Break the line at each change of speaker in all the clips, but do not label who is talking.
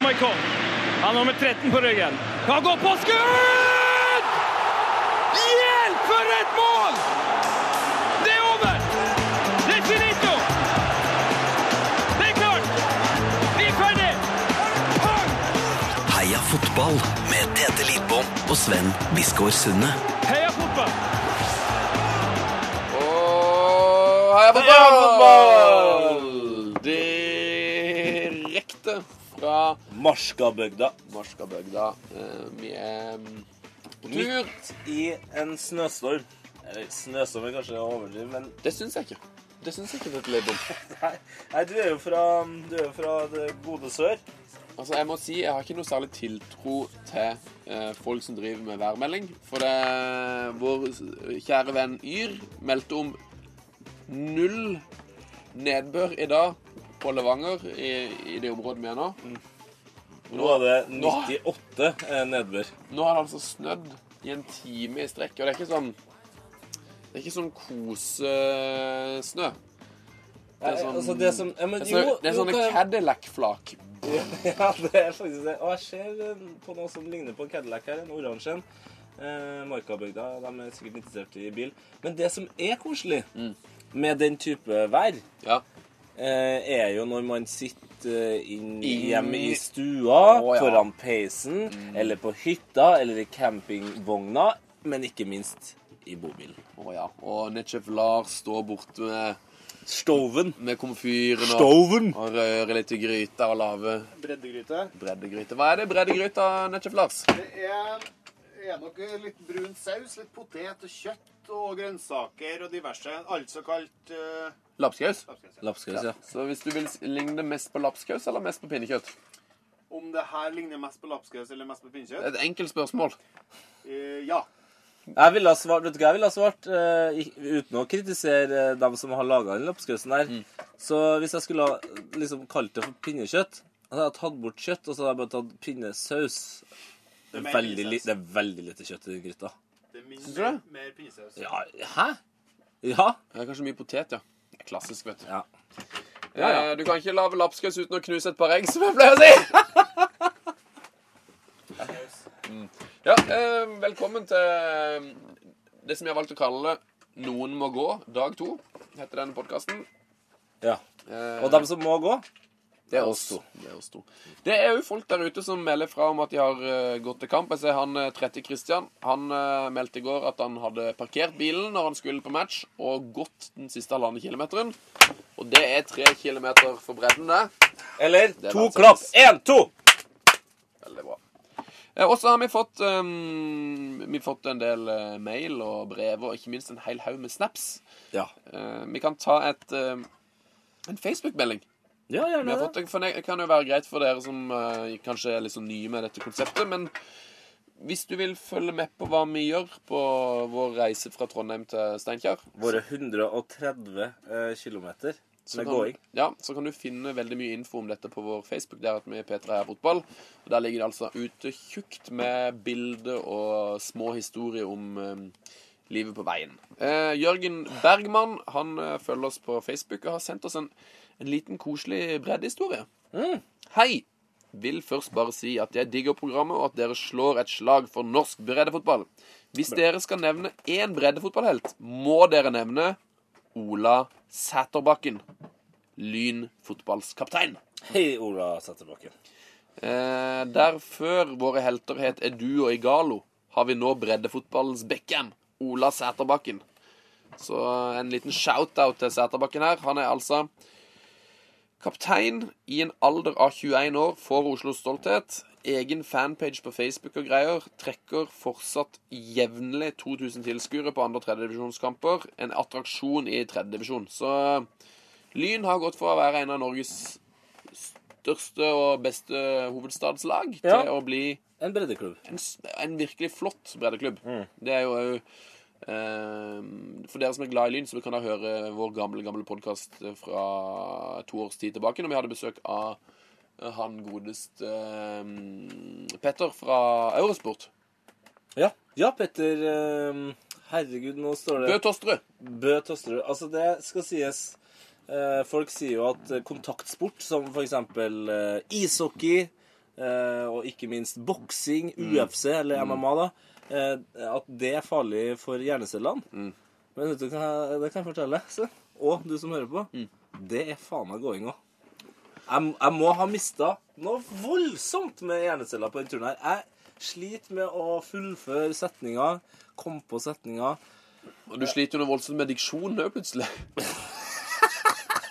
Kom. Han har nummer 13 på ryggen. Han går på skudd! Hjelp, for et mål! Det er over! Det er finito! Det er klart! Vi er ferdig!
Heia fotball med Tete Lidbom og Sven Biskår Sunde.
Heia fotball!
Og heia fotball! Direkte fra
Marskabygda.
Marskabygda. Eh, Vi er mm, på tur.
Midt i en snøstorm. Eller snøstorm er kanskje å overdrive, men
Det syns jeg ikke. Det syns jeg ikke det er et label.
nei, nei, du er jo fra, du er jo fra det gode sør.
Altså, jeg må si jeg har ikke noe særlig tiltro til eh, folk som driver med værmelding. For det Vår kjære venn Yr meldte om null nedbør i dag på Levanger, i, i det området vi er nå.
Nå er det 98 eh, nedbør.
Nå har det altså snødd i en time i strekk, og det er ikke sånn Det er ikke sånn kosesnø. Det er sånn,
Altså, det som ja, men,
det er så- det er sånne
det-
Cadillac-flak.
Ja, det er faktisk det. Og jeg ser eh, på noe som ligner på en Cadillac her, en oransje en. Eh, Markabygda, de er sikkert interessert i bil. Men det som er koselig med den type vær,
Ja.
eh, er jo når man sitter eh, inn
Inn-
hjemme i stua,
Å, ja.
foran peisen, eller på hytta, eller i campingvogna, men ikke minst i bobilen.
Å ja. Og Netchef Lars står borte med,
Stoven.
med komfyren og,
Stoven!
og rører litt i gryta og lager
Breddegryte.
breddegryte. Hva er det breddegryta, Netchef Lars?
Det er, er nok litt brun saus, litt potet og kjøtt og grønnsaker og diverse. Altså kalt eh,
Lapskaus?
lapskaus, ja.
Lapskaus, ja.
Så hvis du vil s- ligne mest på lapskaus eller mest på pinnekjøtt?
Om det her ligner mest på lapskaus eller mest på pinnekjøtt?
Et enkelt spørsmål.
Eh, ja.
Jeg ville ha svart, vet du hva jeg ville ha svart eh, i- uten å kritisere eh, dem som har laga den lapskausen der. Så hvis jeg skulle ha eh, liksom kalt det for pinnekjøtt så hadde jeg tatt bort kjøtt, og så hadde jeg bare tatt pinnesaus. Det er,
mer
veldig, li-
pinnesaus.
det er veldig lite kjøtt i den gryta.
Det er min,
du det?
mer pinnesaus.
Ja, hæ? Ja.
Det er kanskje mye potet, ja. Det er Klassisk, vet du.
ja.
Eh, Du kan ikke lage lapskaus uten å knuse et par egg, som jeg pleier å si. Ja, eh, velkommen til eh, det som jeg har valgt å kalle Noen må gå, dag to, heter denne podkasten.
ja. Og dem som må gå
Det er oss to. Det er, oss to. Det er jo folk der ute som melder fra om at de har eh, gått til kamp. Jeg ser han eh, 30 Christian. Han eh, meldte i går at han hadde parkert bilen når han skulle på match, og gått den siste halvannen kilometeren. Og det er tre kilometer for bredden, det.
Eller
er
to
verdens
klapp. Én, to!
Veldig bra. Eh, Og så har vi fått, eh, vi fått en del eh, mail og brev, og ikke minst en hel haug med snaps.
Ja.
Eh, vi kan ta et, eh, en Facebook-melding.
Ja,
Vi har
gjerne
fått, for det kan jo være greit for dere som eh, kanskje er litt sånn nye med dette konseptet, men hvis du vil følge med på hva vi gjør på vår reise fra Trondheim til Steinkjer
Våre 130 eh, kilometer med gåing.
ja, så kan du finne veldig mye info om dette på vår Facebook. Der at vi er P3 er fotball. Og Der ligger det altså ute tjukt med bilder og små historier om eh, livet på veien. Eh, Jørgen Bergman han eh, følger oss på Facebook og har sendt oss en, en liten koselig breddehistorie. Hei! Vil først bare si at jeg digger programmet, og at dere slår et slag for norsk breddefotball. Hvis dere skal nevne én breddefotballhelt, må dere nevne Ola Sæterbakken. Lyn fotballskaptein.
Hei, Ola Setterbakken.
Eh, der før våre helter het Edu og Igalo, har vi nå breddefotballens Beckham, Ola Sæterbakken. Så eh, en liten shout-out til Sæterbakken her. Han er altså kaptein i en alder av 21 år for Oslos stolthet. Egen fanpage på Facebook og greier. Trekker fortsatt jevnlig 2000 tilskuere på andre- og tredjedivisjonskamper. En attraksjon i tredjedivisjon. Så eh, Lyn har gått for å være en av Norges største og beste hovedstadslag
Ja.
til å bli
En breddeklubb.
en, s- en virkelig flott breddeklubb. Det er jo òg eh, For dere som er glad i Lyn, så kan dere høre vår gamle gamle podkast fra to års tid tilbake, når vi hadde besøk av eh, han godeste eh, Petter fra Eurosport.
Ja. Ja, Petter. ehm, herregud, nå står det
Bø Tosterud.
Bø Tosterud. Altså, det skal sies eh, Folk sier jo at eh, kontaktsport, som for eksempel eh, ishockey, eh, og ikke minst boksing, UFC eller MMA, da, eh, at det er farlig for hjernecellene. Men vet du hva, det kan jeg fortelle, Sven. og du som hører på. Det er faen meg going òg. Jeg, jeg må ha mista noe voldsomt med hjerneceller på den turen her. Jeg sliter med å fullføre setninger, komme på setninger.
Og du sliter jo noe voldsomt med diksjonen òg, plutselig.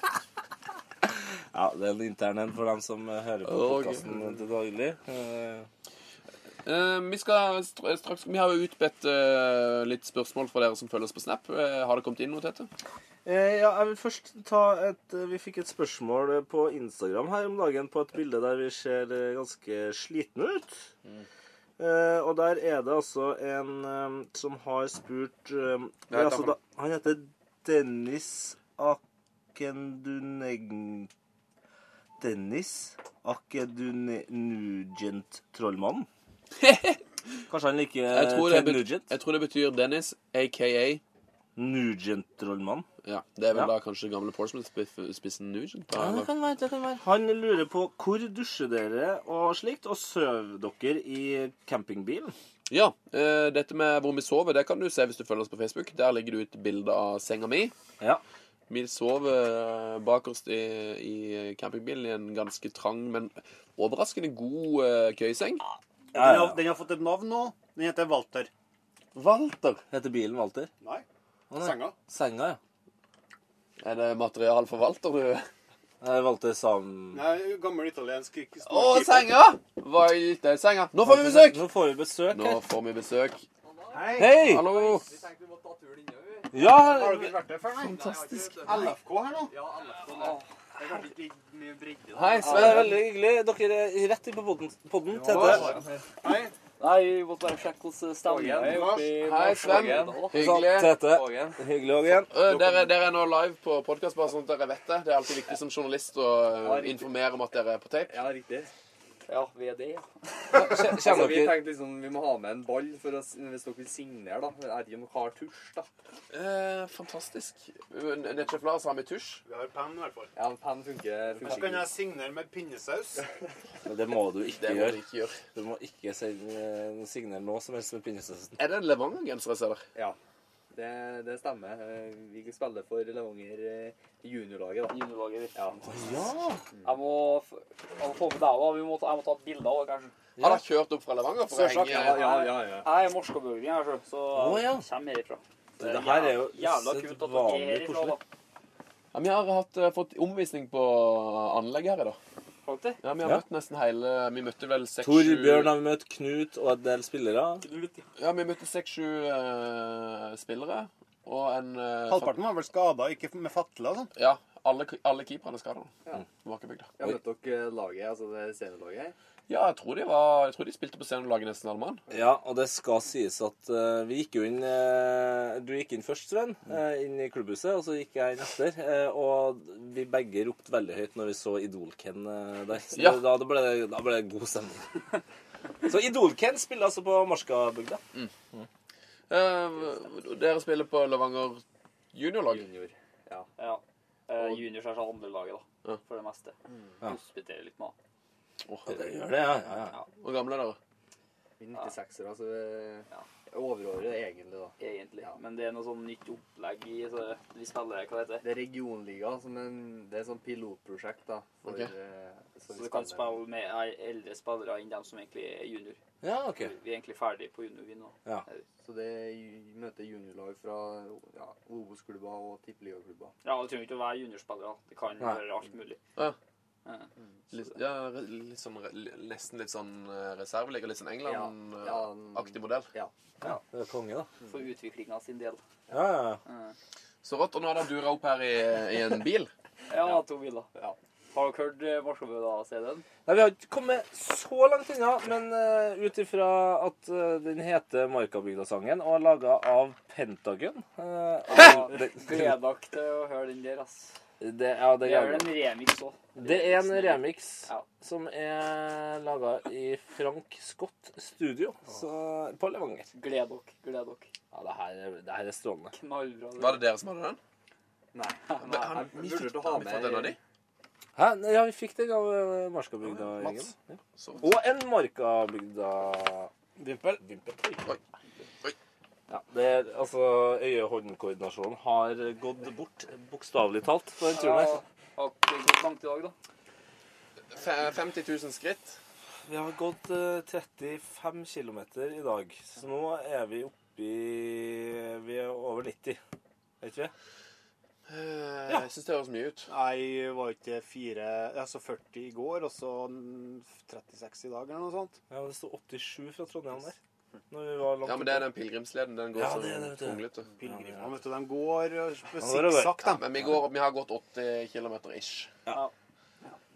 Ja, det er en intern en for dem som eh, hører på
Ok.
podcasten podkasten til daglig. Eh,
Eh, vi, skal str- straks, vi har jo utbedt eh, litt spørsmål fra dere som følger oss på Snap. Eh, har det kommet inn noe, Tete?
Eh, ja, jeg vil først ta et eh, Vi fikk et spørsmål eh, på Instagram her om dagen på et bilde der vi ser eh, ganske slitne ut.
Mm.
Eh, og der er det altså en eh, som har spurt eh, det er
heter han?
altså, da, Han heter Dennis Akenduneg... Dennis Akedunugent-trollmannen. Kanskje han liker
Jeg tror, det
Eh, Ted
bet-
Nugent?
jeg tror det betyr Dennis, aka
Nugent-trollmannen.
ja, Det er vel
Ja.
da kanskje gamle Portsmouth-spissen Nugent? da, eller?
Han lurer på hvor dusjer dere og slikt, og sover dere i campingbilen?
Ja. eh, dette med hvor vi sover, det kan du se hvis du følger oss på Facebook. Der ligger det ut bilde av senga mi.
Ja.
Vi sover eh, bakerst i, i campingbilen i en ganske trang, men overraskende god eh, køyeseng.
Den har, den har fått et navn nå. Den heter Walter.
Walter. Heter bilen Walter?
Nei.
Å, nei.
Senga.
Senga, ja.
Er det material for Walter, du?
Eh, Walter Sam...
Nei, gammel italiensk ikke-
Å, senga! Valter, senga. Nå får vi besøk!
Nå får vi besøk
Nå
her.
får vi besøk.
Hei.
Hei!
Hallo!
Ja,
Har dere vært der før? Nei. Fantastisk. LFK her nå? Ja,
Hei,
det er
Sven.
veldig hyggelig. Dere er rett inn på podden, podden Tete.
Hei. Hei.
Nei, måtte bare sjekke hvordan stemningen er oppi
Hei, Sven. Hyggelig.
Tete. Hyggelig òg igjen.
Ø, Dere, dere er nå live på podkast, bare sånn at dere vet det. Det er alltid viktig som journalist å ø, informere om at dere er på tape.
Ja, riktig. Ja, vi er det, ja.
Kjenner
Altså, vi
dere
tenkte liksom vi må ha med en ball for å, s- hvis dere vil signere, da. Men Er det ikke noe har tusj, da?
Eh, fantastisk. Nettsjef Lars har med tusj.
Vi har penn i hvert fall.
Ja, en penn funker.
Så
funker
kan
ikke.
jeg signere med pinnesaus.
Det må du
Det
ikke
må
gjøre.
dere ikke gjøre.
Du må ikke sende- signere noe som helst med pinnesøsten.
Er det en Levanger-genser jeg ser der?
Ja. Det, det stemmer. Eh, Vi spiller for Levanger eh, juniorlaget, da.
Juniorlaget ditt.
Ja.
Jeg må f- jeg må få med deg òg. Jeg må ta et bilde òg, kanskje.
Har dere kjørt opp fra Levanger for å
Sørsak,
Ja,
henge
ja, ja. ja.
Jeg er morskabølgen, jeg, sjø, så
Å, ja.
jeg kommer herifra.
Det her er jo
jævla kult at dere er
vanlig
herifra,
koselig.
da.
ja, Vi har hatt, ø, fått omvisning på anlegget her i dag.
Faktisk.
Ja, Vi har
Ja.
møtt nesten hele Vi møtte vel seks
Torbjørn har vi møtt, Knut og en del spillere.
Ja, vi møtte seks-sju ø, spillere. Og en ø,
Halvparten var vel skada, ikke med fatle og sånn.
Ja, alle, alle keeperne skada. Ja.
Ja.
Måkebygda.
Jeg har møtt dere laget, altså det seniorlaget.
Ja, jeg tror de, var, jeg tror de spilte på scenen og lagde nesten alle mann.
Ja, og det skal sies at eh, vi gikk jo inn eh, Du gikk inn først, Sven, eh, inn i klubbhuset, og så gikk jeg inn etter. eh, og vi begge ropte veldig høyt når vi så Idol-Ken eh, der. Så
Ja.
da, da, ble det, da ble det god stemning. så Idol-Ken spiller altså på Marskabygda.
Eh, dere spiller på Levanger juniorlag.
Junior.
Ja. Eh, juniors er så andre laget, da.
Ja.
For det meste.
Ja.
Hospiterer litt med han.
Åh,
Det gjør det, ja. ja, ja.
Hvor gamle er dere?
Vi er 96-ere, altså. eh, Overåret egentlig, da.
egentlig. Men det er noe sånn nytt opplegg i så Vi spiller hva det heter.
Det er regionliga som en, det er et sånt pilotprosjekt. da. For,
Ok.
eh, for
Så du
spillere.
kan spille med ei- eldre spillere enn dem som egentlig er junior.
Ja, OK.
Vi er egentlig ferdig på junior, vi nå.
Så det er ju- møter juniorlag fra ja, Obos-klubber og tippeligaklubber.
Ja, og Det trenger ikke å være juniorspillere. da. Det kan
Nei.
være alt mulig.
Ja.
Ja.
Litt, ja, re- litt sånn, re- nesten litt sånn eh, reserveligger, litt sånn
Ja, ja.
England-aktig modell.
Ja, det er konge, da.
For utviklinga sin del.
Ja, ja, ja.
Så rått. Og nå har dere dura opp her i, i en bil.
Ja, to biler.
Ja.
Har dere hørt eh, Marsjabøda-CD-en?
Nei, Vi har ikke kommet så langt unna, men eh, ut ifra at eh, den heter Markabygda-sangen og er laga av Pentagon eh, og det,
Gleder dere til å høre den der, ass.
det, ja, det,
Vi
er
gjør en remix òg.
jævlig. det er en remix
Ja.
som er laga i Frank Scott Studio så, på Levanger.
Gled dere. Gled dere.
Ja, det her, er- det her er strålende.
Knallbra.
Var det dere som hadde den?
Nei.
Men han-
jeg vurderte å
har
ha
vi
med
fått en av de?
Hæ? Nei, Ja, vi fikk det av eh, Markabygda-gjengen.
Mats.
Ja.
Så.
Og en Markabygda-vimpel.
Vimpel. Oi. Oi.
Ja, det er, altså, Øye-hånd-koordinasjonen har gått bort, bokstavelig talt, på den turen her.
Har ikke gått langt i dag, da.
Fe- 50 000 skritt.
Vi har gått eh, 35 km i dag, så nå er vi oppi Vi er over 90, vet vi?
Eh, Jeg syns det høres mye ut.
Nei, var ikke fire Altså 40 i går, og så 36 i dag, eller noe sånt.
Ja, det sto 87 fra Trondheim der. Når vi var langt
Ja, men det er
oppe.
den pilegrimsleden. Den går
Ja, det er
sånn
det, vet du.
kronglete.
Pilegrimene, vet du. De går eh, med
Ja, det er det.
sikksakk,
Ja,
de.
men vi, går, vi har gått 80 km ish.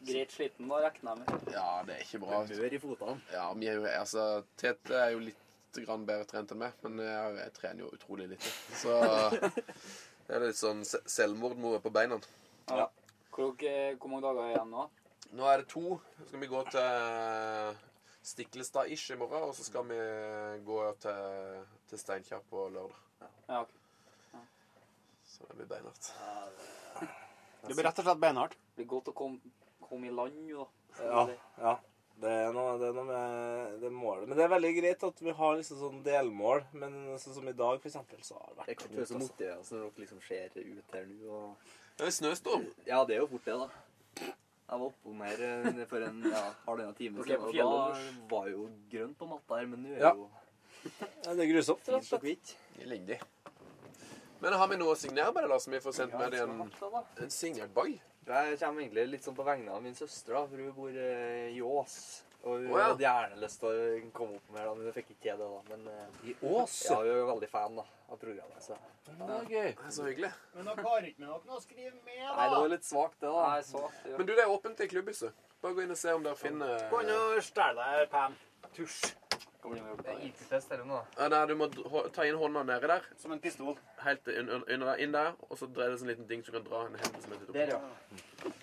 Greit sliten, da regner jeg med.
Ja, det er ikke bra. vet du.
Mør i fotene.
Ja, vi er jo, altså, Tete er jo litt grann bedre trent enn meg, men jeg, jeg trener jo utrolig lite. Så det er litt sånn se- selvmordmor på beina.
Ja. Hvor, dere- eh, hvor mange dager er igjen nå?
Nå er det to. Så skal vi gå til eh, Stiklestad-ish i morgen, og så skal vi gå til, til Steinkjer på lørdag.
Ja, ok.
Så det blir beinhardt.
Det blir rett og slett beinhardt.
Det blir godt å komme, komme i land, jo da.
Ja, ja. Det er noe, det er noe med det målet. Men det er veldig greit at vi har liksom sånn delmål. Men sånn som i dag, for eksempel, så har det
Det er
vært
ikke
tungt,
så
altså.
motiverende når dere liksom ser ut her nå og
Det er snøstorm.
Ja, det er jo fort det, da. Jeg var oppom her eh, for en ja, halvannen time
Dere er
siden,
på
og
fjellet,
da var jo grønt på matta her, men nå er
Ja.
jo
Ja, det er grusomt, rett
fint
og
og
slett.
kvitt.
Lindig. Men har vi noe å signere med det, da, som vi får sendt med i en, en signert bag?
Jeg kommer egentlig litt sånn på vegne av min søster, da, for hun bor eh, i Ås. Og hun
Å, ja.
hadde gjerne lyst til å komme opp med det, men hun fikk ikke til det. da. Men eh,
I Ås.
ja, hun er jo veldig fan da, av programmet. så...
Det er gøy.
Det er Så hyggelig.
Men dere har ikke med dere noe å skrive med,
Nei, det var litt svakt, det, da.
Nei, så artig. Ja.
Men du, det er åpent i klubbhuset. Bare gå inn og se om dere finner
Gå inn og stjel deg pen tusj
Skal bli med og
Det
jobbe
er
der.
IT-fest eller noe.
Ja, nei, Du må dra- ta inn hånda nedi der,
som en pistol.
helt inn, under, inn der, og så dreier det sånn liten ding som kan dra en hend som er litt opp.
Der, ja.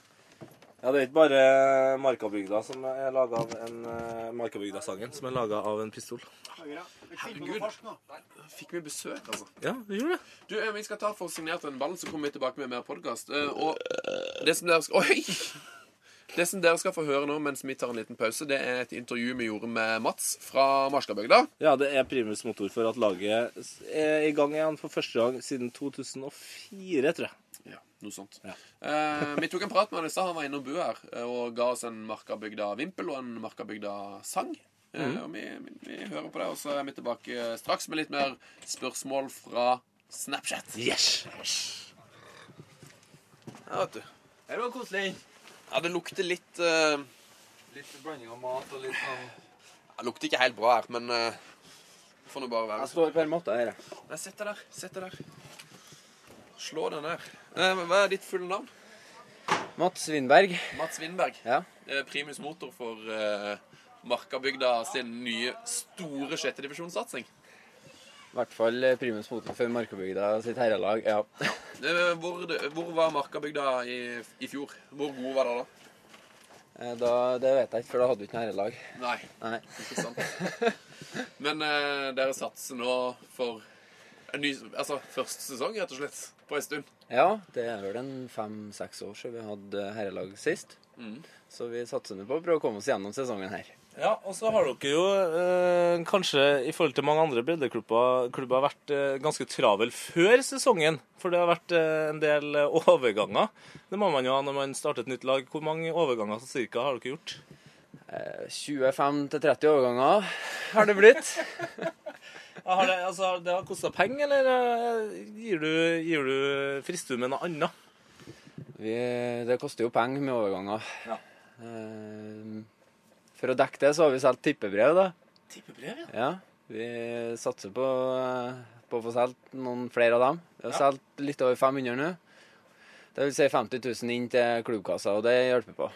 Ja, det er ikke bare Markabygda som er laget av en eh, Markabygda-sangen som er laga av en pistol.
Herregud.
Herregud.
Fikk vi besøk, altså?
Ja, vi gjorde det.
Du, eh, Vi skal ta for signert den ballen, så kommer vi tilbake med mer podkast. Og det som dere skal Oi! Det som dere skal få høre nå mens vi tar en liten pause, det er et intervju vi gjorde med Mats fra Marskabygda.
Ja, det er primus motor for at laget er i gang igjen for første gang siden 2004, tror jeg.
Ja, noe sånt. Eh, vi tok en prat med han i stad. Han var inne og bu her eh, og ga oss en Markabygda-vimpel og en Markabygda-sang. Eh, Og vi, vi, vi hører på det, og så er vi tilbake straks med litt mer spørsmål fra Snapchat.
Yes!
Ja, vet du.
Det var koselig.
Ja, det lukter litt eh,
Litt blanding av mat og litt sånn
Det lukter ikke helt bra her, men eh, det får nå bare være.
står på en måte her, jeg.
Nei, sett deg der. Sett deg der. Slå den der. Eh, hva er ditt fulle navn?
Mats Vindberg.
Mats Vindberg.
Ja.
Eh, Primus Motor for eh, Markabygda sin nye store sjettedivisjonssatsing.
I hvert fall eh, primus motor for Markabygda sitt herrelag. Ja.
Eh, Hvor, hvor var Markabygda i, i fjor? Hvor gode var dere da?
Eh, Da, det vet jeg ikke, for da hadde vi ikke noe herrelag.
Nei,
Nei.
ikke sant. Men eh, dere satser nå for en ny, altså, første sesong, rett og slett, på en stund.
Ja, det er vel en fem-seks år siden vi hadde eh, herrelag sist. Så vi satser nå på å prøve å komme oss gjennom sesongen her.
Ja, og så har dere jo eh, kanskje i forhold til mange andre breddeklubber klubber vært eh, ganske travel før sesongen. For det har vært eh, en del eh, overganger. Det må man jo ha når man starter et nytt lag. Hvor mange overganger så cirka har dere gjort?
Eh, 25 til 30 overganger har det blitt.
Ja, Har det, altså, har det har kosta penger, eller eh, gir du, gir du frister du med noe annet?
Vi, det koster jo penger med overganger.
Ja.
Eh, For å dekke det så har vi solgt tippebrev, da.
Tippebrev,
Ja, vi satser på, eh, på å få solgt noen flere av dem. Vi har solgt litt over 500 nå. Det vil si 50 000 inn til klubbkassa, og det hjelper på.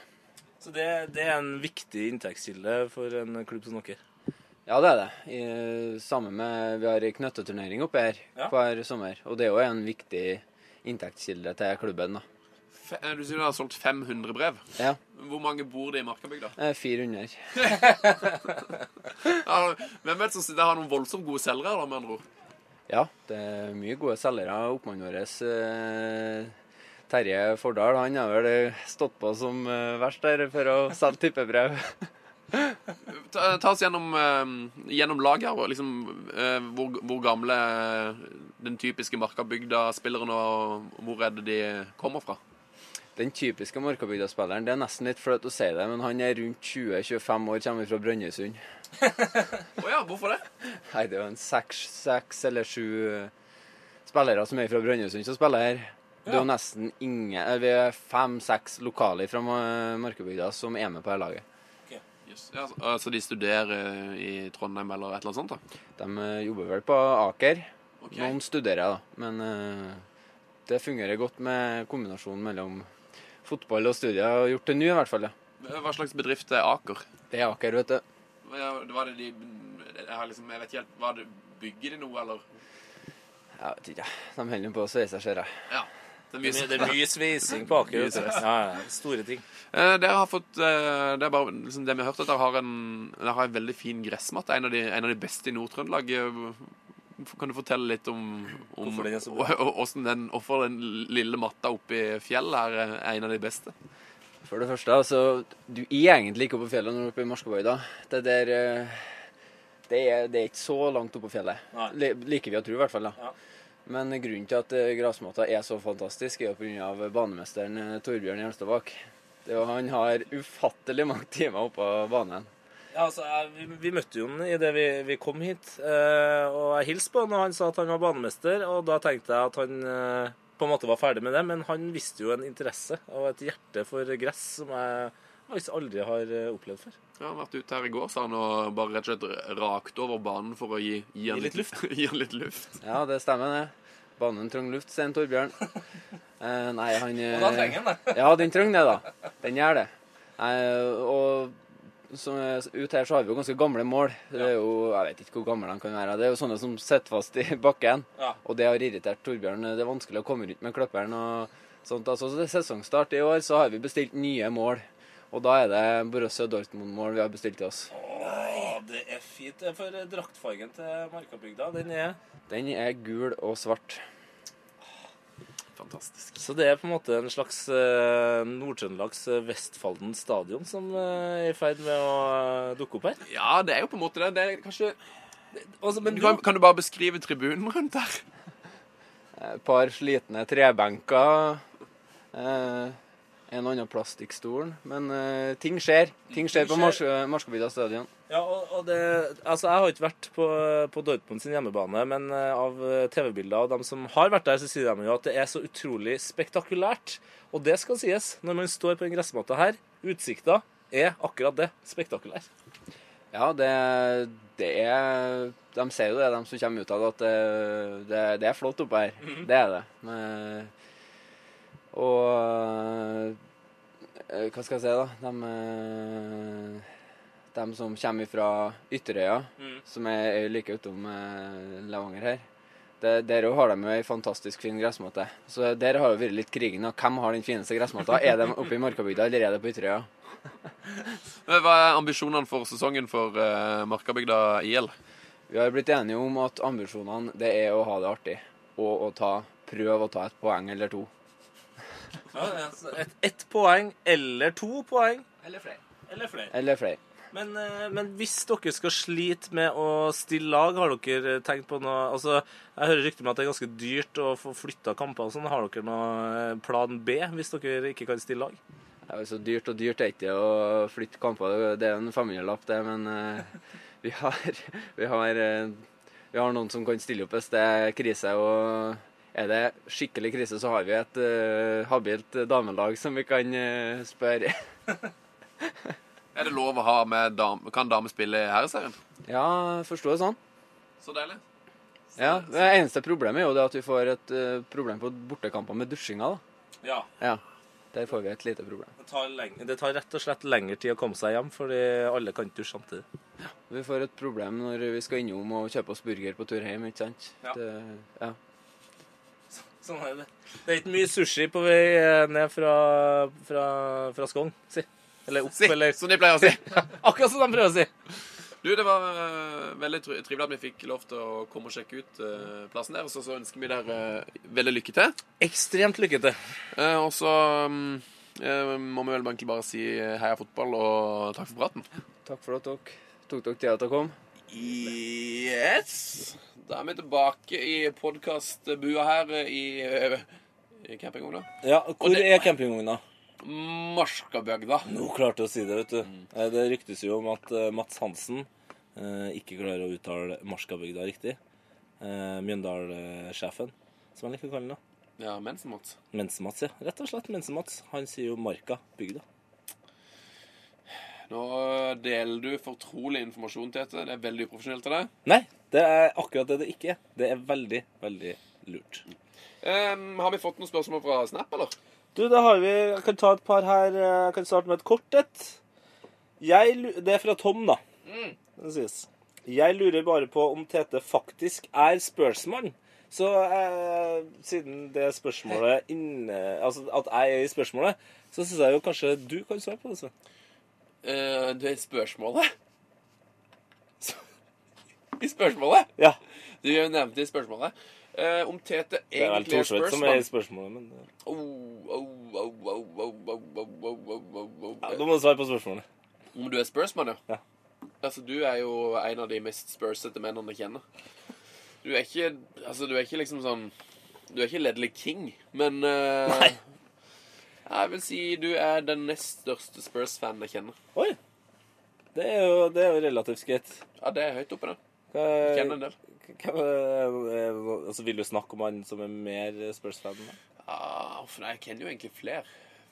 Så det, det er en viktig inntektskilde for en klubb som dere.
Ja, det er det. I, samme med Vi har ei knøtteturnering oppe her
Ja.
hver sommer, og det er jo en viktig inntektskilde til klubben, da.
Fe- eh, Du sier du har solgt 500 brev.
Ja.
Hvor mange bor det i Markabygda?
eh, 400.
Ja, hvem vet som sitter her har noen voldsomt gode selgere, da, med andre ord?
Ja, det er mye gode selgere. Oppmannen vår eh, Terje Fordal han har vel eh, stått på som eh, verst der for å selge tippebrev.
Ta, ta oss gjennom, eh, gjennom laget her, og liksom, eh, hvor, hvor gamle eh, den typiske Markabygda-spilleren og hvor er det de kommer fra?
Den typiske Markabygda-spilleren, det er nesten litt flaut å si det, men han er rundt 20-25 år, kommer fra Brønnøysund.
Å ja, hvorfor det?
Nei, det er jo en seks, seks eller sju eh, spillere som er fra Brønnøysund som spiller her. Det er jo nesten ingen eh, Vi er fem-seks lokale fra Ma- Markabygda som er med på dette laget.
Yes. Ja, så, eh, så de studerer eh, i Trondheim eller et eller annet sånt? da?
De eh, jobber vel på Aker.
Ok.
Noen studerer, da. Men eh, det fungerer godt med kombinasjonen mellom fotball og studier. Og gjort det nå, i hvert fall. ja.
Hva slags bedrift er Aker?
Det er Aker, vet du.
Ja, Var det de Jeg, har liksom, jeg vet ikke helt var det, Bygger de noe, eller?
Jeg vet ikke. De holder på å sveise, ser jeg.
Ja. Det er mye
Det er mye sveising på Aker. vet du. Ja, ja, store ting.
Eh, Dere har fått eh, Det er bare liksom, det vi har hørt, at dere har en, dere har en veldig fin gressmatte. En av de, en av de beste i Nord-Trøndelag. Eh, Kan du fortelle litt om, om
Hvorfor den er så
og- og- hvordan den, hvorfor den lille matta oppi fjellet her eh, er en av de beste?
For det første, altså, du er egentlig ikke oppe på fjellet når du er oppe i Marskabøyda. Det der eh, det er, det er ikke så langt oppe på fjellet.
Nei.
Li- Liker vi å tro, i hvert fall. da.
Ja.
Men grunnen til at eh, grasmatta er så fantastisk, er jo pga. banemesteren eh, Torbjørn Gjelstadbakk. Det er jo- Han har ufattelig mange timer oppå banen.
Ja, altså, jeg, vi, vi møtte jo han idet vi, vi kom hit, eh, og jeg hilste på han, og han sa at han var banemester, og da tenkte jeg at han eh, på en måte var ferdig med det, men han viste jo en interesse og et hjerte for gress som jeg faktisk aldri har eh, opplevd før.
Ja, han har vært ute her i går, sa han, og bare rett og slett rakt over banen for å gi, gi, han,
Gi litt luft.
gi han litt luft.
Ja, det stemmer, det. Banen trang luft, sier en Torbjørn. Eh, nei, han eh,
Og da trenger han det.
Ja, den trenger det, da. Den gjør det. Eh, og som, er- ut her så har vi jo ganske gamle mål. Det er jo, Jeg vet ikke hvor gamle de kan være. Det er jo sånne som sitter fast i bakken.
Ja.
Og det har irritert Torbjørn. Det er vanskelig å komme rundt med kløpperen og sånt. Altså, så det er sesongstart i år, så har vi bestilt nye mål. Og da er det Borussia Dortmund-mål vi har bestilt til oss.
Å, det er fint. Det er For draktfargen til Markabygda, den er
Den er gul og svart.
Fantastisk.
Så det er på en måte en slags eh, Nord-Trøndelags eh, Vestfalden stadion som eh, er i ferd med å eh, dukke opp her.
Ja, det er jo på en måte det. det er kanskje,
Altså, men
du kan, kan du bare beskrive tribunen rundt her?
Eh, Et par slitne trebenker. Eh, en og annen plastikkstol. Men eh, ting skjer. Ting skjer på
skjer.
Mars Marskabygda stadion.
Ja, og, og det, altså Jeg har ikke vært på, på Dortmund sin hjemmebane, men eh, av eh, TV-bilder av dem som har vært der, så sier de jo at det er så utrolig spektakulært. Og det skal sies. Når man står på en gressmatte her, utsikta er akkurat det. Spektakulær.
Ja, det, det er De sier jo det, de som kommer ut av det, at det, det, det er flott oppe her. Det er det. Men, og eh, Hva skal jeg si, da? De, eh, de som kommer fra Ytterøya, som er øy like utom eh, Levanger her. Det, der òg har de jo ei fantastisk fin gressmatte. Så der har det vært litt krigen. Og hvem har den fineste gressmatta? Er de oppe i Markabygda, eller er det på Ytterøya?
Eh, Hva er ambisjonene for sesongen for eh, Markabygda IL?
Vi har blitt enige om at ambisjonene det er å ha det artig og å ta, prøve å ta et poeng eller to.
Ett et poeng eller to poeng
altså- Eller flere.
eller flere.
Eller flere.
Men, eh, men hvis dere skal slite med å stille lag, har dere tenkt på noe Altså, Jeg hører rykter om at det er ganske dyrt å få flytta kamper og sånn. Har dere noe eh, plan B hvis dere ikke kan stille lag?
Det er jo så dyrt og dyrt er ikke det å flytte kamper. Det er jo en 500-lapp, det, men eh, vi, har, vi, har, eh, vi har noen som kan stille opp hvis det er krise. Og er det skikkelig krise, så har vi et eh, habilt damelag som vi kan eh, spørre.
Er det lov å ha med dam, Kan damer spille i herreserien?
Ja, forstår det sånn.
Så deilig.
Ja, Det eneste problemet er jo det at vi får et eh, problem på bortekamper med dusjinga. da.
Ja.
Ja, der får vi et lite problem.
Det tar, leng- det tar rett og slett lengre tid å komme seg hjem, fordi alle kan ikke dusje samtidig.
Vi får et problem når vi skal innom og kjøpe oss burger på tur hjem, ikke sant?
Ja.
Det, ja.
Sånn er det. Det er ikke mye sushi på vei eh, ned fra, fra, fra Skogn, si. Eller opp,
Si,
eller
som de pleier å si.
Akkurat som de prøver å si.
Du, det var eh, veldig tr- trivelig at vi fikk lov til å komme og sjekke ut eh, plassen der. Og så, så ønsker vi dere eh, veldig lykke til.
Ekstremt lykkete.
Eh, og så mm, eh, må vi vel egentlig bare si eh, heia fotball og takk for praten.
Takk for at dere tok dere tida til å komme.
Yes! Da er vi tilbake i podkastbua her eh, i, eh, i campingvogna.
Ja, hvor
det-
er campingvogna?
Marskabygda.
Nå klarte jeg å si det, vet du. Eh, Det ryktes jo om at eh, Mats Hansen eh, ikke klarer å uttale Marskabygda riktig. Eh, Mjøndal-sjefen, som han liker å kalle ham.
Ja, mensenmat.
Mensemats, ja. Rett og slett Mensemats. Han sier jo Marka bygda.
Nå deler du fortrolig informasjon, Tete. Det er veldig uprofesjonelt av deg.
Nei, det er akkurat det det ikke er. Det er veldig, veldig lurt.
Ehm, har vi fått noen spørsmål fra Snap, eller?
Du, da har vi Jeg kan ta et par her. eh, Jeg kan starte med et kort et. Jeg lu- Det er fra Tom, da. Det sies. Jeg lurer bare på om Tete faktisk er spørsmålsmann. Så eh, siden det spørsmålet inne, Altså at jeg er i spørsmålet, så syns jeg jo kanskje du kan svare på det. Sven.
Eh, det er spørsmålet. I spørsmålet?
Ja.
Du nevnte i spørsmålet. Eh, om Tete
Det er vel
egentlig er
Thorsvedt som er i
spørsmål.
spørsmålet, men eh,
Oh, oh, oh, oh, oh, oh, oh, oh, oh, oh,
ja,
oh.
Da må eh, du svare på spørsmålet.
Om du er spørsmål, ja?
Ja.
Altså, du er jo en av de mest spørsete mennene jeg kjenner. Du er ikke Altså, du er ikke liksom sånn Du er ikke Ledley King, men eh,
Nei.
Jeg vil si du er den nest største Spurs-fanen jeg kjenner.
Oi! Det er jo, det er jo relativt greit.
Ja, det er høyt oppe, det.
Hva-
Kjenner en del.
Hvem er det- er det- altså, vil du snakke om han som er mer Spurs-fan enn meg?
Ah, for nei, jeg kjenner jo egentlig flere,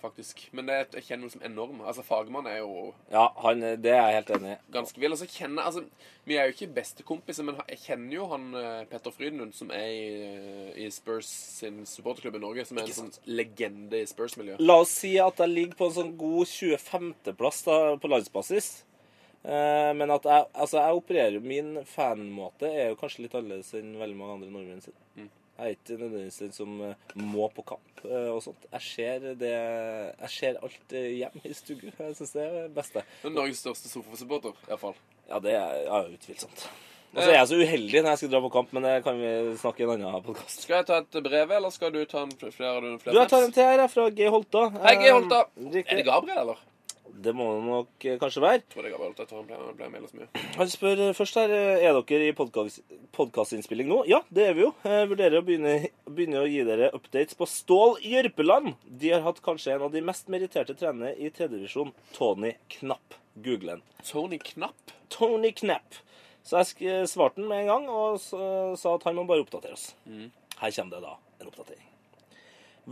faktisk. Men det, jeg kjenner noe som enorm. Altså, Fagmann er jo
Ja, han, eh, det er jeg helt enig i.
ganske vill. Og så kjenner jeg altså, Vi er jo ikke bestekompiser, men jeg kjenner jo han eh, Petter Frydenlund, som er i, eh, i Spurs sin supporterklubb i Norge, som er en sånn legende i Spurs-miljøet.
La oss si at jeg ligger på en sånn god 25.-plass da, på landsbasis. Eh, men at jeg, altså, jeg opererer jo Min fanmåte er jo kanskje litt annerledes enn veldig mange andre nordmenn sin. Jeg er ikke nødvendigvis den som eh, må på kamp eh, og sånt. Jeg ser, det, jeg ser alt eh, hjemme i stugu. Jeg syns det er det beste.
Men Norges største sofasupporter, iallfall.
Ja, det er ja, utvilsomt. Og så er jeg så uheldig når jeg skal dra på kamp, men det kan vi snakke i en annen podkast.
Skal jeg ta et brev, eller skal du ta en fl- flere? Du,
Du,
flere
jeg tar en
tips?
til her jeg, fra G. Holta.
Hei, G. Holta.
Eh,
Er det
Riktig.
Gabriel, eller?
Det må det nok eh, kanskje være.
Jeg tror det er Gabriel. Jeg tror han ble, han ble med så mye.
Han spør eh, først her eh, Er dere i podkastinnspilling nå? Ja, det er vi jo. Jeg vurderer å begynne, begynne å gi dere updates på Stål Jørpeland. De har hatt kanskje en av de mest meritterte trenerne i tredjedivisjon, Tony Knapp. Google den.
Tony Knapp?
Tony Knapp. Så jeg sk- svarte han med en gang og s- sa at han må bare oppdatere oss.
Mm.
Her kommer det da en oppdatering.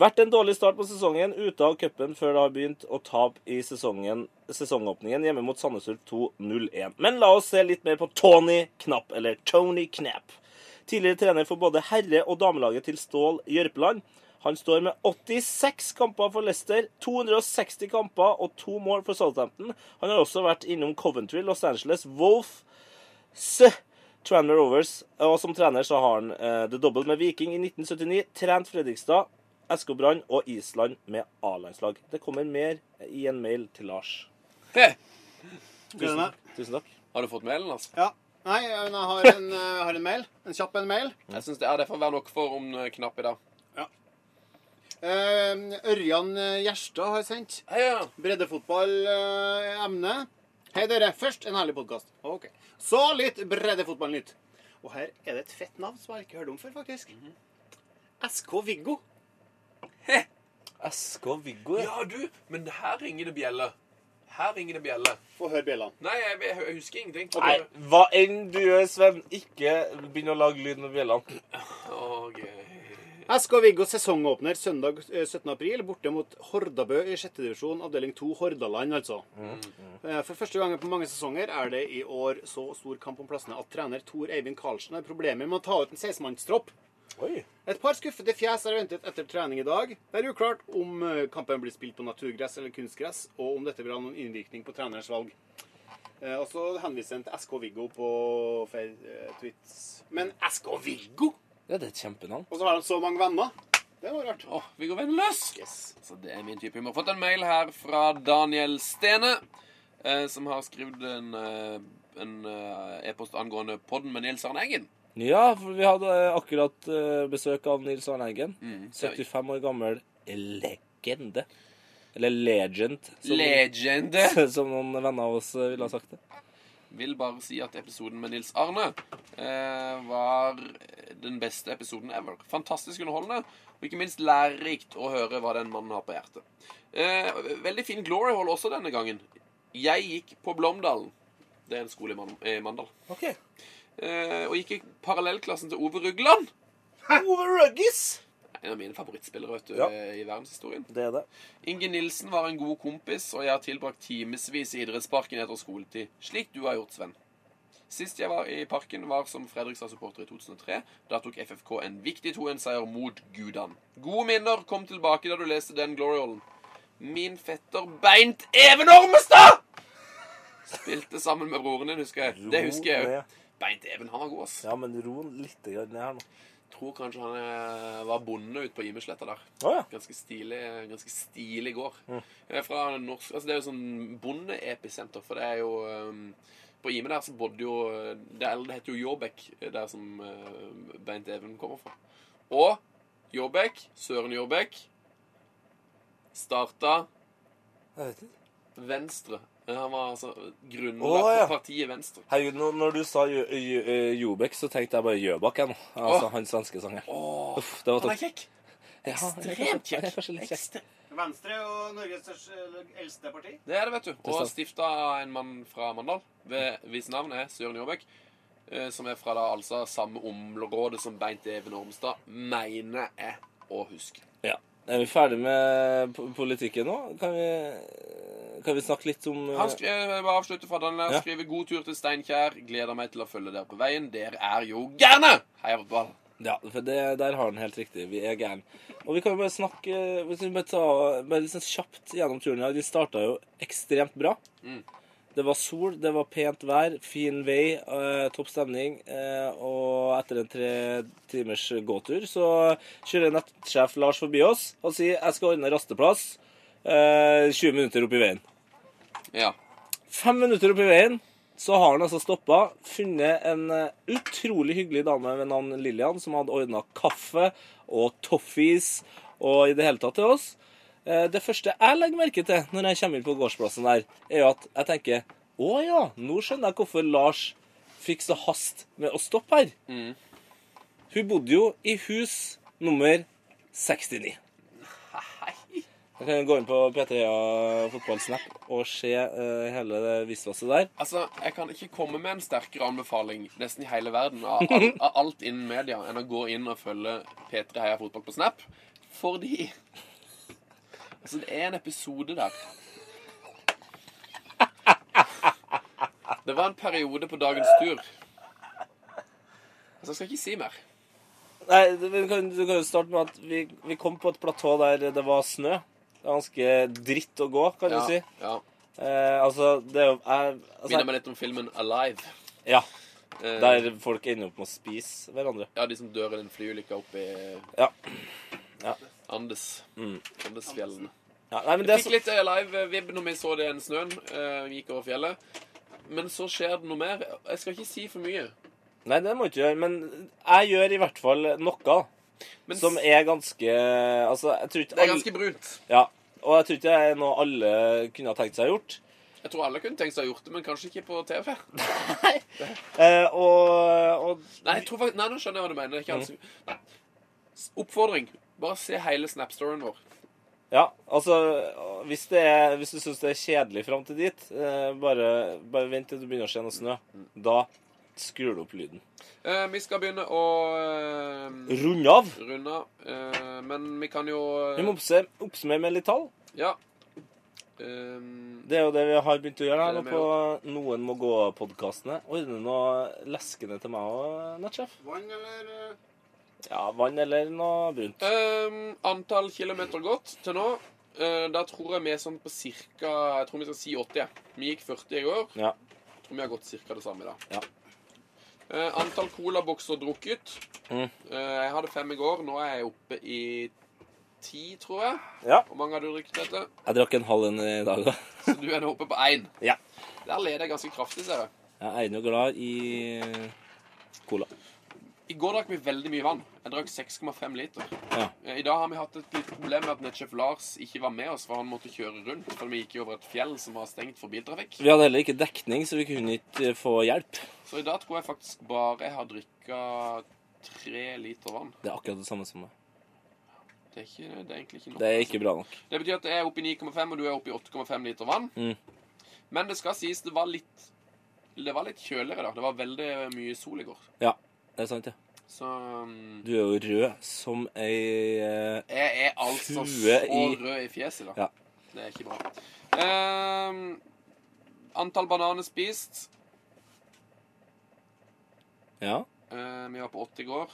Vært en dårlig start på sesongen, ute av cupen før det har begynt å tape i sesongen, sesongåpningen hjemme mot Sandnes Ulf 2-0-1. Men la oss se litt mer på Tony Knapp, eller Tony Knapp. Tidligere trener for både herre- og damelaget til Stål Jørpeland. Han står med 86 kamper for Leicester, 260 kamper og to mål for Southampton. Han har også vært innom Coventry, Los Angeles, Wolf, S. Tranmere Rovers. Og som trener så har han eh, det dobbelt med Viking i 1979, trent Fredrikstad, SK Brann og Island med A-landslag. Det kommer mer i en mail til Lars.
He!
Gleder meg.
Tusen takk.
Har du fått mailen, altså?
Ja. Nei, men jeg har en, eh, har en mail. En kjapp en mail.
Jeg synes det, ja, det får være nok for om eh, Knapp i dag.
Eh, Ørjan eh, Gjerstad har sendt.
Heia!
Breddefotball-emne. Hei, dere. Først en herlig podkast. Ok. Så litt breddefotballnytt. Og her er det et fett navn som jeg ikke hørte om før, faktisk.
Mhm.
SK Viggo.
SK Viggo, ja.
Ja, du, men her ringer det bjelle. Her ringer det bjelle.
Få høre bjellene.
Nei, jeg, jeg, jeg husker ingenting.
Nei, hva enn du gjør, Sven, ikke begynn å lage lyd med bjellene.
Og,
SK Viggo sesongåpner søndag eh, 17. april borte mot Hordabø i 6. divisjon, avdeling 2 Hordaland, altså. Eh, For første gang på mange sesonger er det i år så stor kamp om plassene at trener Tor Eivind Karlsen har problemer med å ta ut en 16-mannstropp.
Oi.
Et par skuffede fjes er ventet etter trening i dag. Det er uklart om eh, kampen blir spilt på naturgress eller kunstgress, og om dette vil ha noen innvirkning på trenerens valg. Eh, Og så henviser han til SK Viggo på fe- eh, tweets. Men SK Viggo?
Ja, det er et kjempenavn.
Og så har de så mange venner. Det var rart.
Åh, vi går venn løs! Så det er min type humor. Fått en mail her fra Daniel Stene, eh, som har skrevet en eh, en eh, e-post angående podden med Nils Arne Eggen.
Ja, for vi hadde akkurat eh, besøk av Nils Arne Eggen.
Mm, så-
75 år gammel legende. Eller legend, som,
Legende!
som noen venner av oss eh, ville ha sagt det.
Vil bare si at episoden med Nils Arne eh, var den beste episoden ever. Fantastisk underholdende, og ikke minst lærerikt å høre hva den mannen har på hjertet. Eh, veldig fin glory hall også denne gangen. Jeg gikk på Blomdalen. Det er en skole i Man eh, Mandal.
Ok.
Eh, og gikk i parallellklassen til Ove Rugland.
Over Ruggis!
En av mine favorittspillere vet du,
Ja.
eh, i verdenshistorien.
Det er det.
Inge Nilsen var en god kompis, og jeg har tilbrakt timevis i idrettsparken etter skoletid, slik du har gjort, Sven. Sist jeg var i parken, var som Fredrikstad-supporter i 2003. Da tok FFK en viktig 2-1-seier mot Gudan. Gode minner kom tilbake da du leste den gloryhallen. Min fetter Beint Even Ormestad! Spilte sammen med broren din, husker jeg. Det husker jeg
Ro
òg.
ned.
Beint Even, han var god, ass.
Ja, men ro litt grann ned her nå.
Tror kanskje han eh, var bonde ute på Imesletta der.
Å ja.
Ganske stilig, ganske stilig gård. Jeg er fra norsk, altså det er jo sånn bondeepisenter, for det er jo ehm, På Ime der så bodde jo eh, Det, eller det heter jo Jåbekk, eh, der som eh, Beint Even kommer fra. Og Jåbekk, Søren Jåbekk, starta
Jeg vet ikke.
Venstre. Eh, Han var altså grunnla
Å, ja.
for partiet Venstre.
Herregud, når, når du sa Jø- Jø- eh, Jobek, så tenkte jeg bare Gjøbakk, jeg nå. Altså
Åh.
han svenske sangeren.
Åh,
Uff, det var
han er
tøft.
kjekk!
Ja, han er
Ekstremt
kanskje- han er
kjekk.
kanskje litt kjekk.
Ekstre-
Venstre og Norges største, eller eldste parti.
Det er det, vet du. Og
sant.
stifta en mann fra Mandal, ved, hvis navn er Søren Jåbekk. eh, Som er fra da altså samme område som Beint Even Ormstad, mener jeg å huske.
Ja. Er vi ferdig med po- politikken nå? Kan vi, kan vi snakke litt om eh,
Han sk eh, bare avslutter fra den der.
Ja.
Skriver 'God tur til Steinkjer'. 'Gleder meg til å følge dere på veien'. Dere er jo gærne! Heia fotball.
Ja, for det, der har han helt riktig. Vi er gærne. Og vi kan jo bare snakke hvis vi bare, ta, bare litt sånn kjapt gjennom turen her. De starta jo ekstremt bra. Det var sol, det var pent vær, fin vei, eh, topp stemning. eh, og etter en tre timers gåtur så kjører nettsjef Lars forbi oss og sier 'Jeg skal ordne rasteplass'. eh, 20 minutter opp i veien.
Ja.
Fem minutter opp i veien så har han altså stoppa, funnet en eh, utrolig hyggelig dame ved navn Lillian, som hadde ordna kaffe og toffees og i det hele tatt til oss. Eh, Det første jeg legger merke til når jeg kommer inn på gårdsplassen der, er jo at jeg tenker Å ja, nå skjønner jeg hvorfor Lars fikk så hast med å stoppe her. Hun bodde jo i hus nummer 69. Jeg kan gå inn på P3A fotballsnap og se eh, hele det visvaset der.
Altså, jeg kan ikke komme med en sterkere anbefaling nesten i hele verden av, all, av alt innen media enn å gå inn og følge P3 Heia Fotball på Snap. Fordi Altså, det er en episode der. Det var en periode på dagens tur. Altså, jeg skal ikke si mer.
Nei, det- vi kan, Du kan jo starte med at vi, vi kom på et platå der det var snø. Det var ganske dritt å gå, kan du si.
ja.
Eh, altså, det er jo jeg-
Minner
altså,
meg litt om filmen Alive.
Ja.
Eh,
Der folk ender opp med å spise hverandre.
Ja, de som dør i den flyulykka oppe i
Ja. Ja. Mm.
Andes. Andesfjellene.
Ja, nei, men det er
Jeg
så,
fikk litt eh, live-vibb når vi så det en snøen. eh, vi gikk over fjellet. Men så skjer det noe mer. Jeg skal ikke si for mye.
nei, det må du ikke gjøre. Men jeg gjør i hvert fall noe
Men
som
s-
er ganske Altså, jeg tror ikke
det er
alle-
ganske brunt.
Ja. Og jeg tror ikke det er noe alle kunne ha tenkt seg å gjort.
Jeg tror alle kunne tenkt seg å ha gjort det, men kanskje ikke på TV.
Eh, og, og
Nei, jeg tror faktisk, nei nå skjønner jeg hva du mener. Det
Mm.
er Ikke alle som- Nei. S- Oppfordring. Bare se hele Snap-storyen vår.
Ja, altså Hvis, det er, hvis du syns det er kjedelig fram til dit, eh, bare, bare vent til du begynner å se noe snø. Da skrur du opp lyden.
Eh, vi skal begynne å eh,
Rund av!
runde av. eh, men vi kan jo eh,
Vi må oppse- oppsummere med litt tall.
Ja. Ehm,
Det er jo det vi har begynt å gjøre her
Det er
nå på Noen må gå-podkastene. Ordne noe leskende til meg òg, nettsjef.
Vann eller eh,
Ja, vann eller noe brunt.
Ehm, antall kilometer gått til nå. Eh, da tror jeg vi er sånn på cirka Jeg tror vi skal si 80. jeg. Vi gikk 40 i går.
Ja.
Jeg tror vi har gått cirka det samme i dag.
Ja.
Eh, antall colabokser drukket.
Mm.
Eh, jeg hadde fem i går. Nå er jeg oppe i ti, tror jeg.
Ja.
Hvor mange har du drukket dette?
Jeg drakk en halv en i dag, da.
Så du er nå oppe på én.
Ja.
Der leder jeg ganske kraftig, ser jeg.
Jeg er nå glad i cola.
I går drakk vi veldig mye vann. Jeg drakk 6,5 liter.
Ja.
Eh, I dag har vi hatt et litt problem med at nettsjef Lars ikke var med oss, for han måtte kjøre rundt. For vi gikk jo over et fjell som var stengt for biltrafikk.
Vi hadde heller ikke dekning, så vi kunne ikke få hjelp.
Så i dag tror jeg faktisk bare jeg har drikka tre liter vann.
Det er akkurat det samme som meg.
Det er, ikke, det er egentlig ikke nok.
Det er ikke bra nok.
Det betyr at jeg er oppe i 9,5, og du er oppe i 8,5 liter vann.
Mm.
Men det skal sies, det var litt Det var litt kjøligere da. Det var veldig mye sol i går.
Ja, det er sant, ja.
Så um,
Du er jo rød som ei eh,
Jeg er altså
Hue
så
i-
rød i fjeset, da.
Ja.
Det er ikke bra. Ehm, antall bananer spist.
Ja.
Eh, vi var på 80 i går.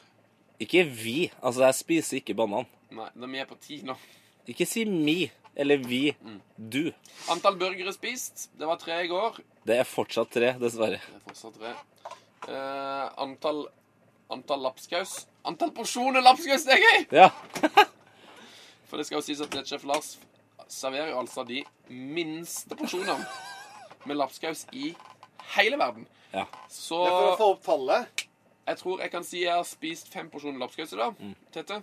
Ikke vi. Altså, jeg spiser ikke banan.
Nei, da vi er på 10 nå.
Ikke si mi eller vi. Du.
Antall burgere spist. Det var tre i går.
Det er fortsatt tre, dessverre.
Det er fortsatt tre. Eh, antall Antall lapskaus. Antall porsjoner lapskaus, det er gøy!
Ja.
For det skal jo sies at Nettsjef Lars serverer jo altså de minste porsjonene med lapskaus i hele verden.
Ja.
Så
Det er for å få opp tallet.
Jeg tror jeg kan si jeg har spist fem porsjoner lapskaus i dag.
Mm.
Tete,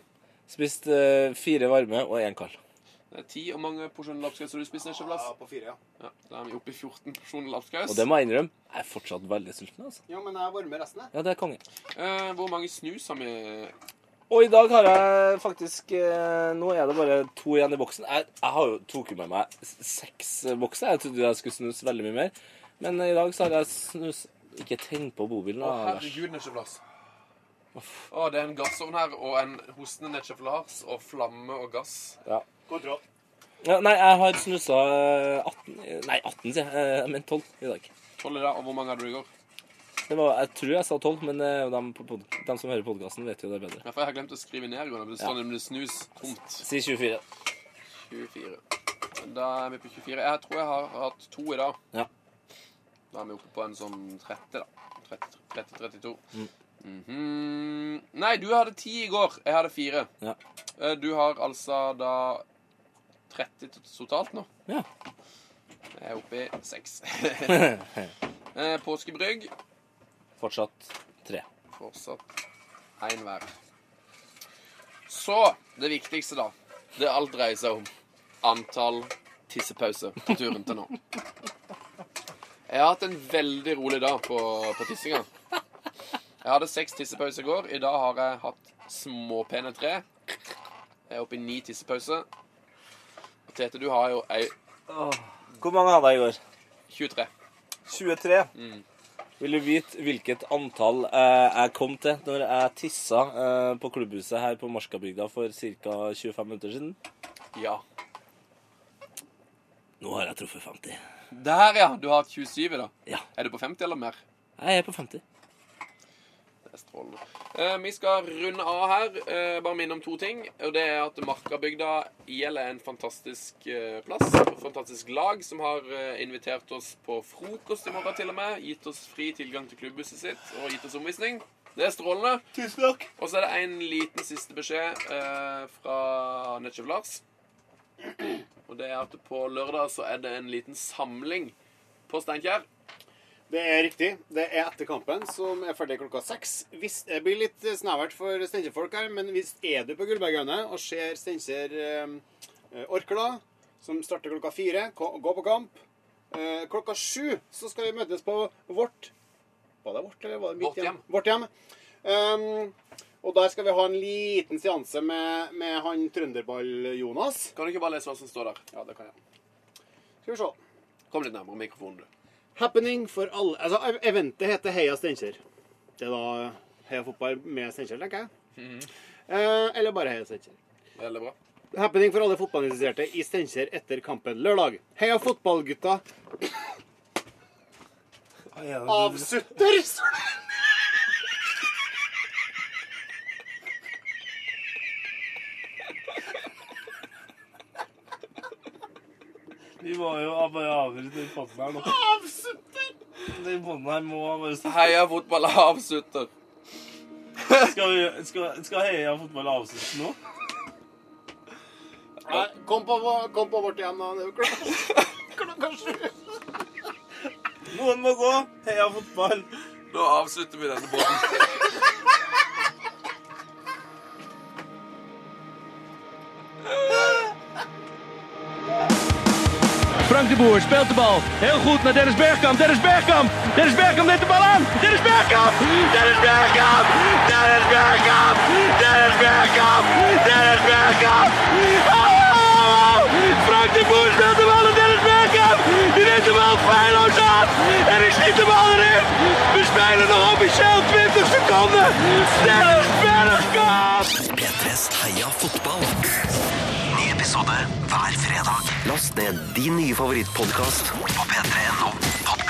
Spist eh, fire varme og én kald.
det er ti. Hvor mange porsjoner lapskaus har du spist? Nesje, Lars?
Ja, på fire, ja.
Ja, da er vi oppe i 14 porsjoner lapskaus.
Og det må jeg innrømme, jeg er fortsatt veldig sulten, altså.
Jo, men jeg varmer resten, jeg.
Ja, det er konge.
Eh, hvor mange snus har vi
Og i dag har jeg faktisk eh, Nå er det bare to igjen i boksen. Jeg, jeg har jo tok jo med meg s- seks eh, bokser. Jeg trodde jeg skulle snuse veldig mye mer. Men eh, i dag så har jeg snus Ikke tenn på bobilen.
Å,
da, Lars.
herregud, Nesje, Lars. Å, det er en gassovn her, og en hostende Nettsjef Lars, og flamme og gass.
Kontroll.
Ja, nei, jeg har snusa eh, 18 eh, Nei, 18, sier jeg. Eh, Jeg mente 12 i dag.
Tolv i dag, og hvor mange hadde du i går?
Det var, jeg tror jeg sa 12, men eh, dem på pod- dem som hører podkasten, vet jo det bedre.
Ja, for jeg har glemt å skrive ned i går, men det står nemlig snus tomt.
Si 24.
24. Da er vi på 24. Jeg tror jeg har hatt to i dag.
Ja.
Da er vi oppe på en sånn 30, da. 30-32.
Mm.
Mhm. Nei, du hadde ti i går. Jeg hadde fire.
Ja.
Eh, Du har altså da 30 tot- totalt nå.
Ja.
Jeg er oppe i seks. Eh, Påskebrygg.
Fortsatt 3.
Fortsatt én hver. Så det viktigste, da. Det alt dreier seg om antall tissepauser på turen til nå. Jeg har hatt en veldig rolig dag på, på tissinga. Jeg hadde seks tissepauser i går. I dag har jeg hatt småpene tre. Jeg er oppe i ni tissepauser. Og Tete, du har jo ei
Hvor mange hadde jeg i går? Mm.
23.
23. Vil du vite hvilket antall eh, jeg kom til når jeg tissa eh, på klubbhuset her på Marskabygda for ca. 25 minutter siden?
Ja.
Nå har jeg truffet 50.
Der, ja! Du har hatt 27 i dag.
Ja.
Er du på 50 eller mer?
Jeg er på 50.
Det er strålende. Eh, vi skal runde av her. Eh, bare minne om to ting. Og det er at Markabygda IL er en fantastisk eh, plass. Et fantastisk lag som har eh, invitert oss på frokost i morgen til og med. Gitt oss fri tilgang til klubbhuset sitt og gitt oss omvisning. Det er strålende. Tusen takk. Og så er det en liten siste beskjed eh, fra Nettsjef Lars. Og det er at på lørdag så er det en liten samling på Steinkjer.
Det er riktig. Det er etter kampen, som er ferdig klokka seks. Hvis, det blir litt eh, snevert for Steinkjer-folk her, men hvis er du på Gullbergane og ser Steinkjer eh, Orkla, som starter klokka fire, ko- gå på kamp. Eh, klokka sju så skal vi møtes på vårt Var det vårt, eller var det mitt
Vårt hjem.
hjem? Vårt hjem. Ehm, og der skal vi ha en liten seanse med, med han Trønderball-Jonas.
Kan du ikke bare lese hva som står der?
Ja, det kan jeg. Skal vi se.
Kom litt nærmere mikrofonen, du.
Happening for alle Altså, ev- eventet heter Heia Steinkjer. Det er da Heia fotball med Steinkjer, tenker jeg. Eh, eller bare Heia Steinkjer.
Veldig bra.
Happening for alle fotballinteresserte i Steinkjer etter kampen lørdag. Heia fotballgutta avsutter!
Vi må jo bare avbryte den poden her nå. Den poden her må bare
Heia fotball avslutter.
Skal, vi, skal, skal Heia fotball avsluttes nå?
Nei, Kom på, vå- kom på vårt hjem, da. Det er jo klokka- Klokka sju.
Noen må gå. Heia fotball.
Nå avslutter vi denne båten.
Frank de Boer speelt de bal. Heel goed naar Dennis Bergkamp. Dennis Bergkamp. Dennis Bergkamp neemt de bal aan. Dennis Bergkamp. Dennis Bergkamp. Dennis Bergkamp. Dennis Bergkamp. Dennis Bergkamp. Oh, oh, oh. Frank de Boer speelt de bal naar Dennis Bergkamp. Die neemt de bal feilloos aan. En is niet de bal erin. We spelen nog officieel 20 seconden. Dennis Bergkamp.
P3s Heia fotball. Ny episode hver fredag. Last ned din nye favorittpodkast på p3.no.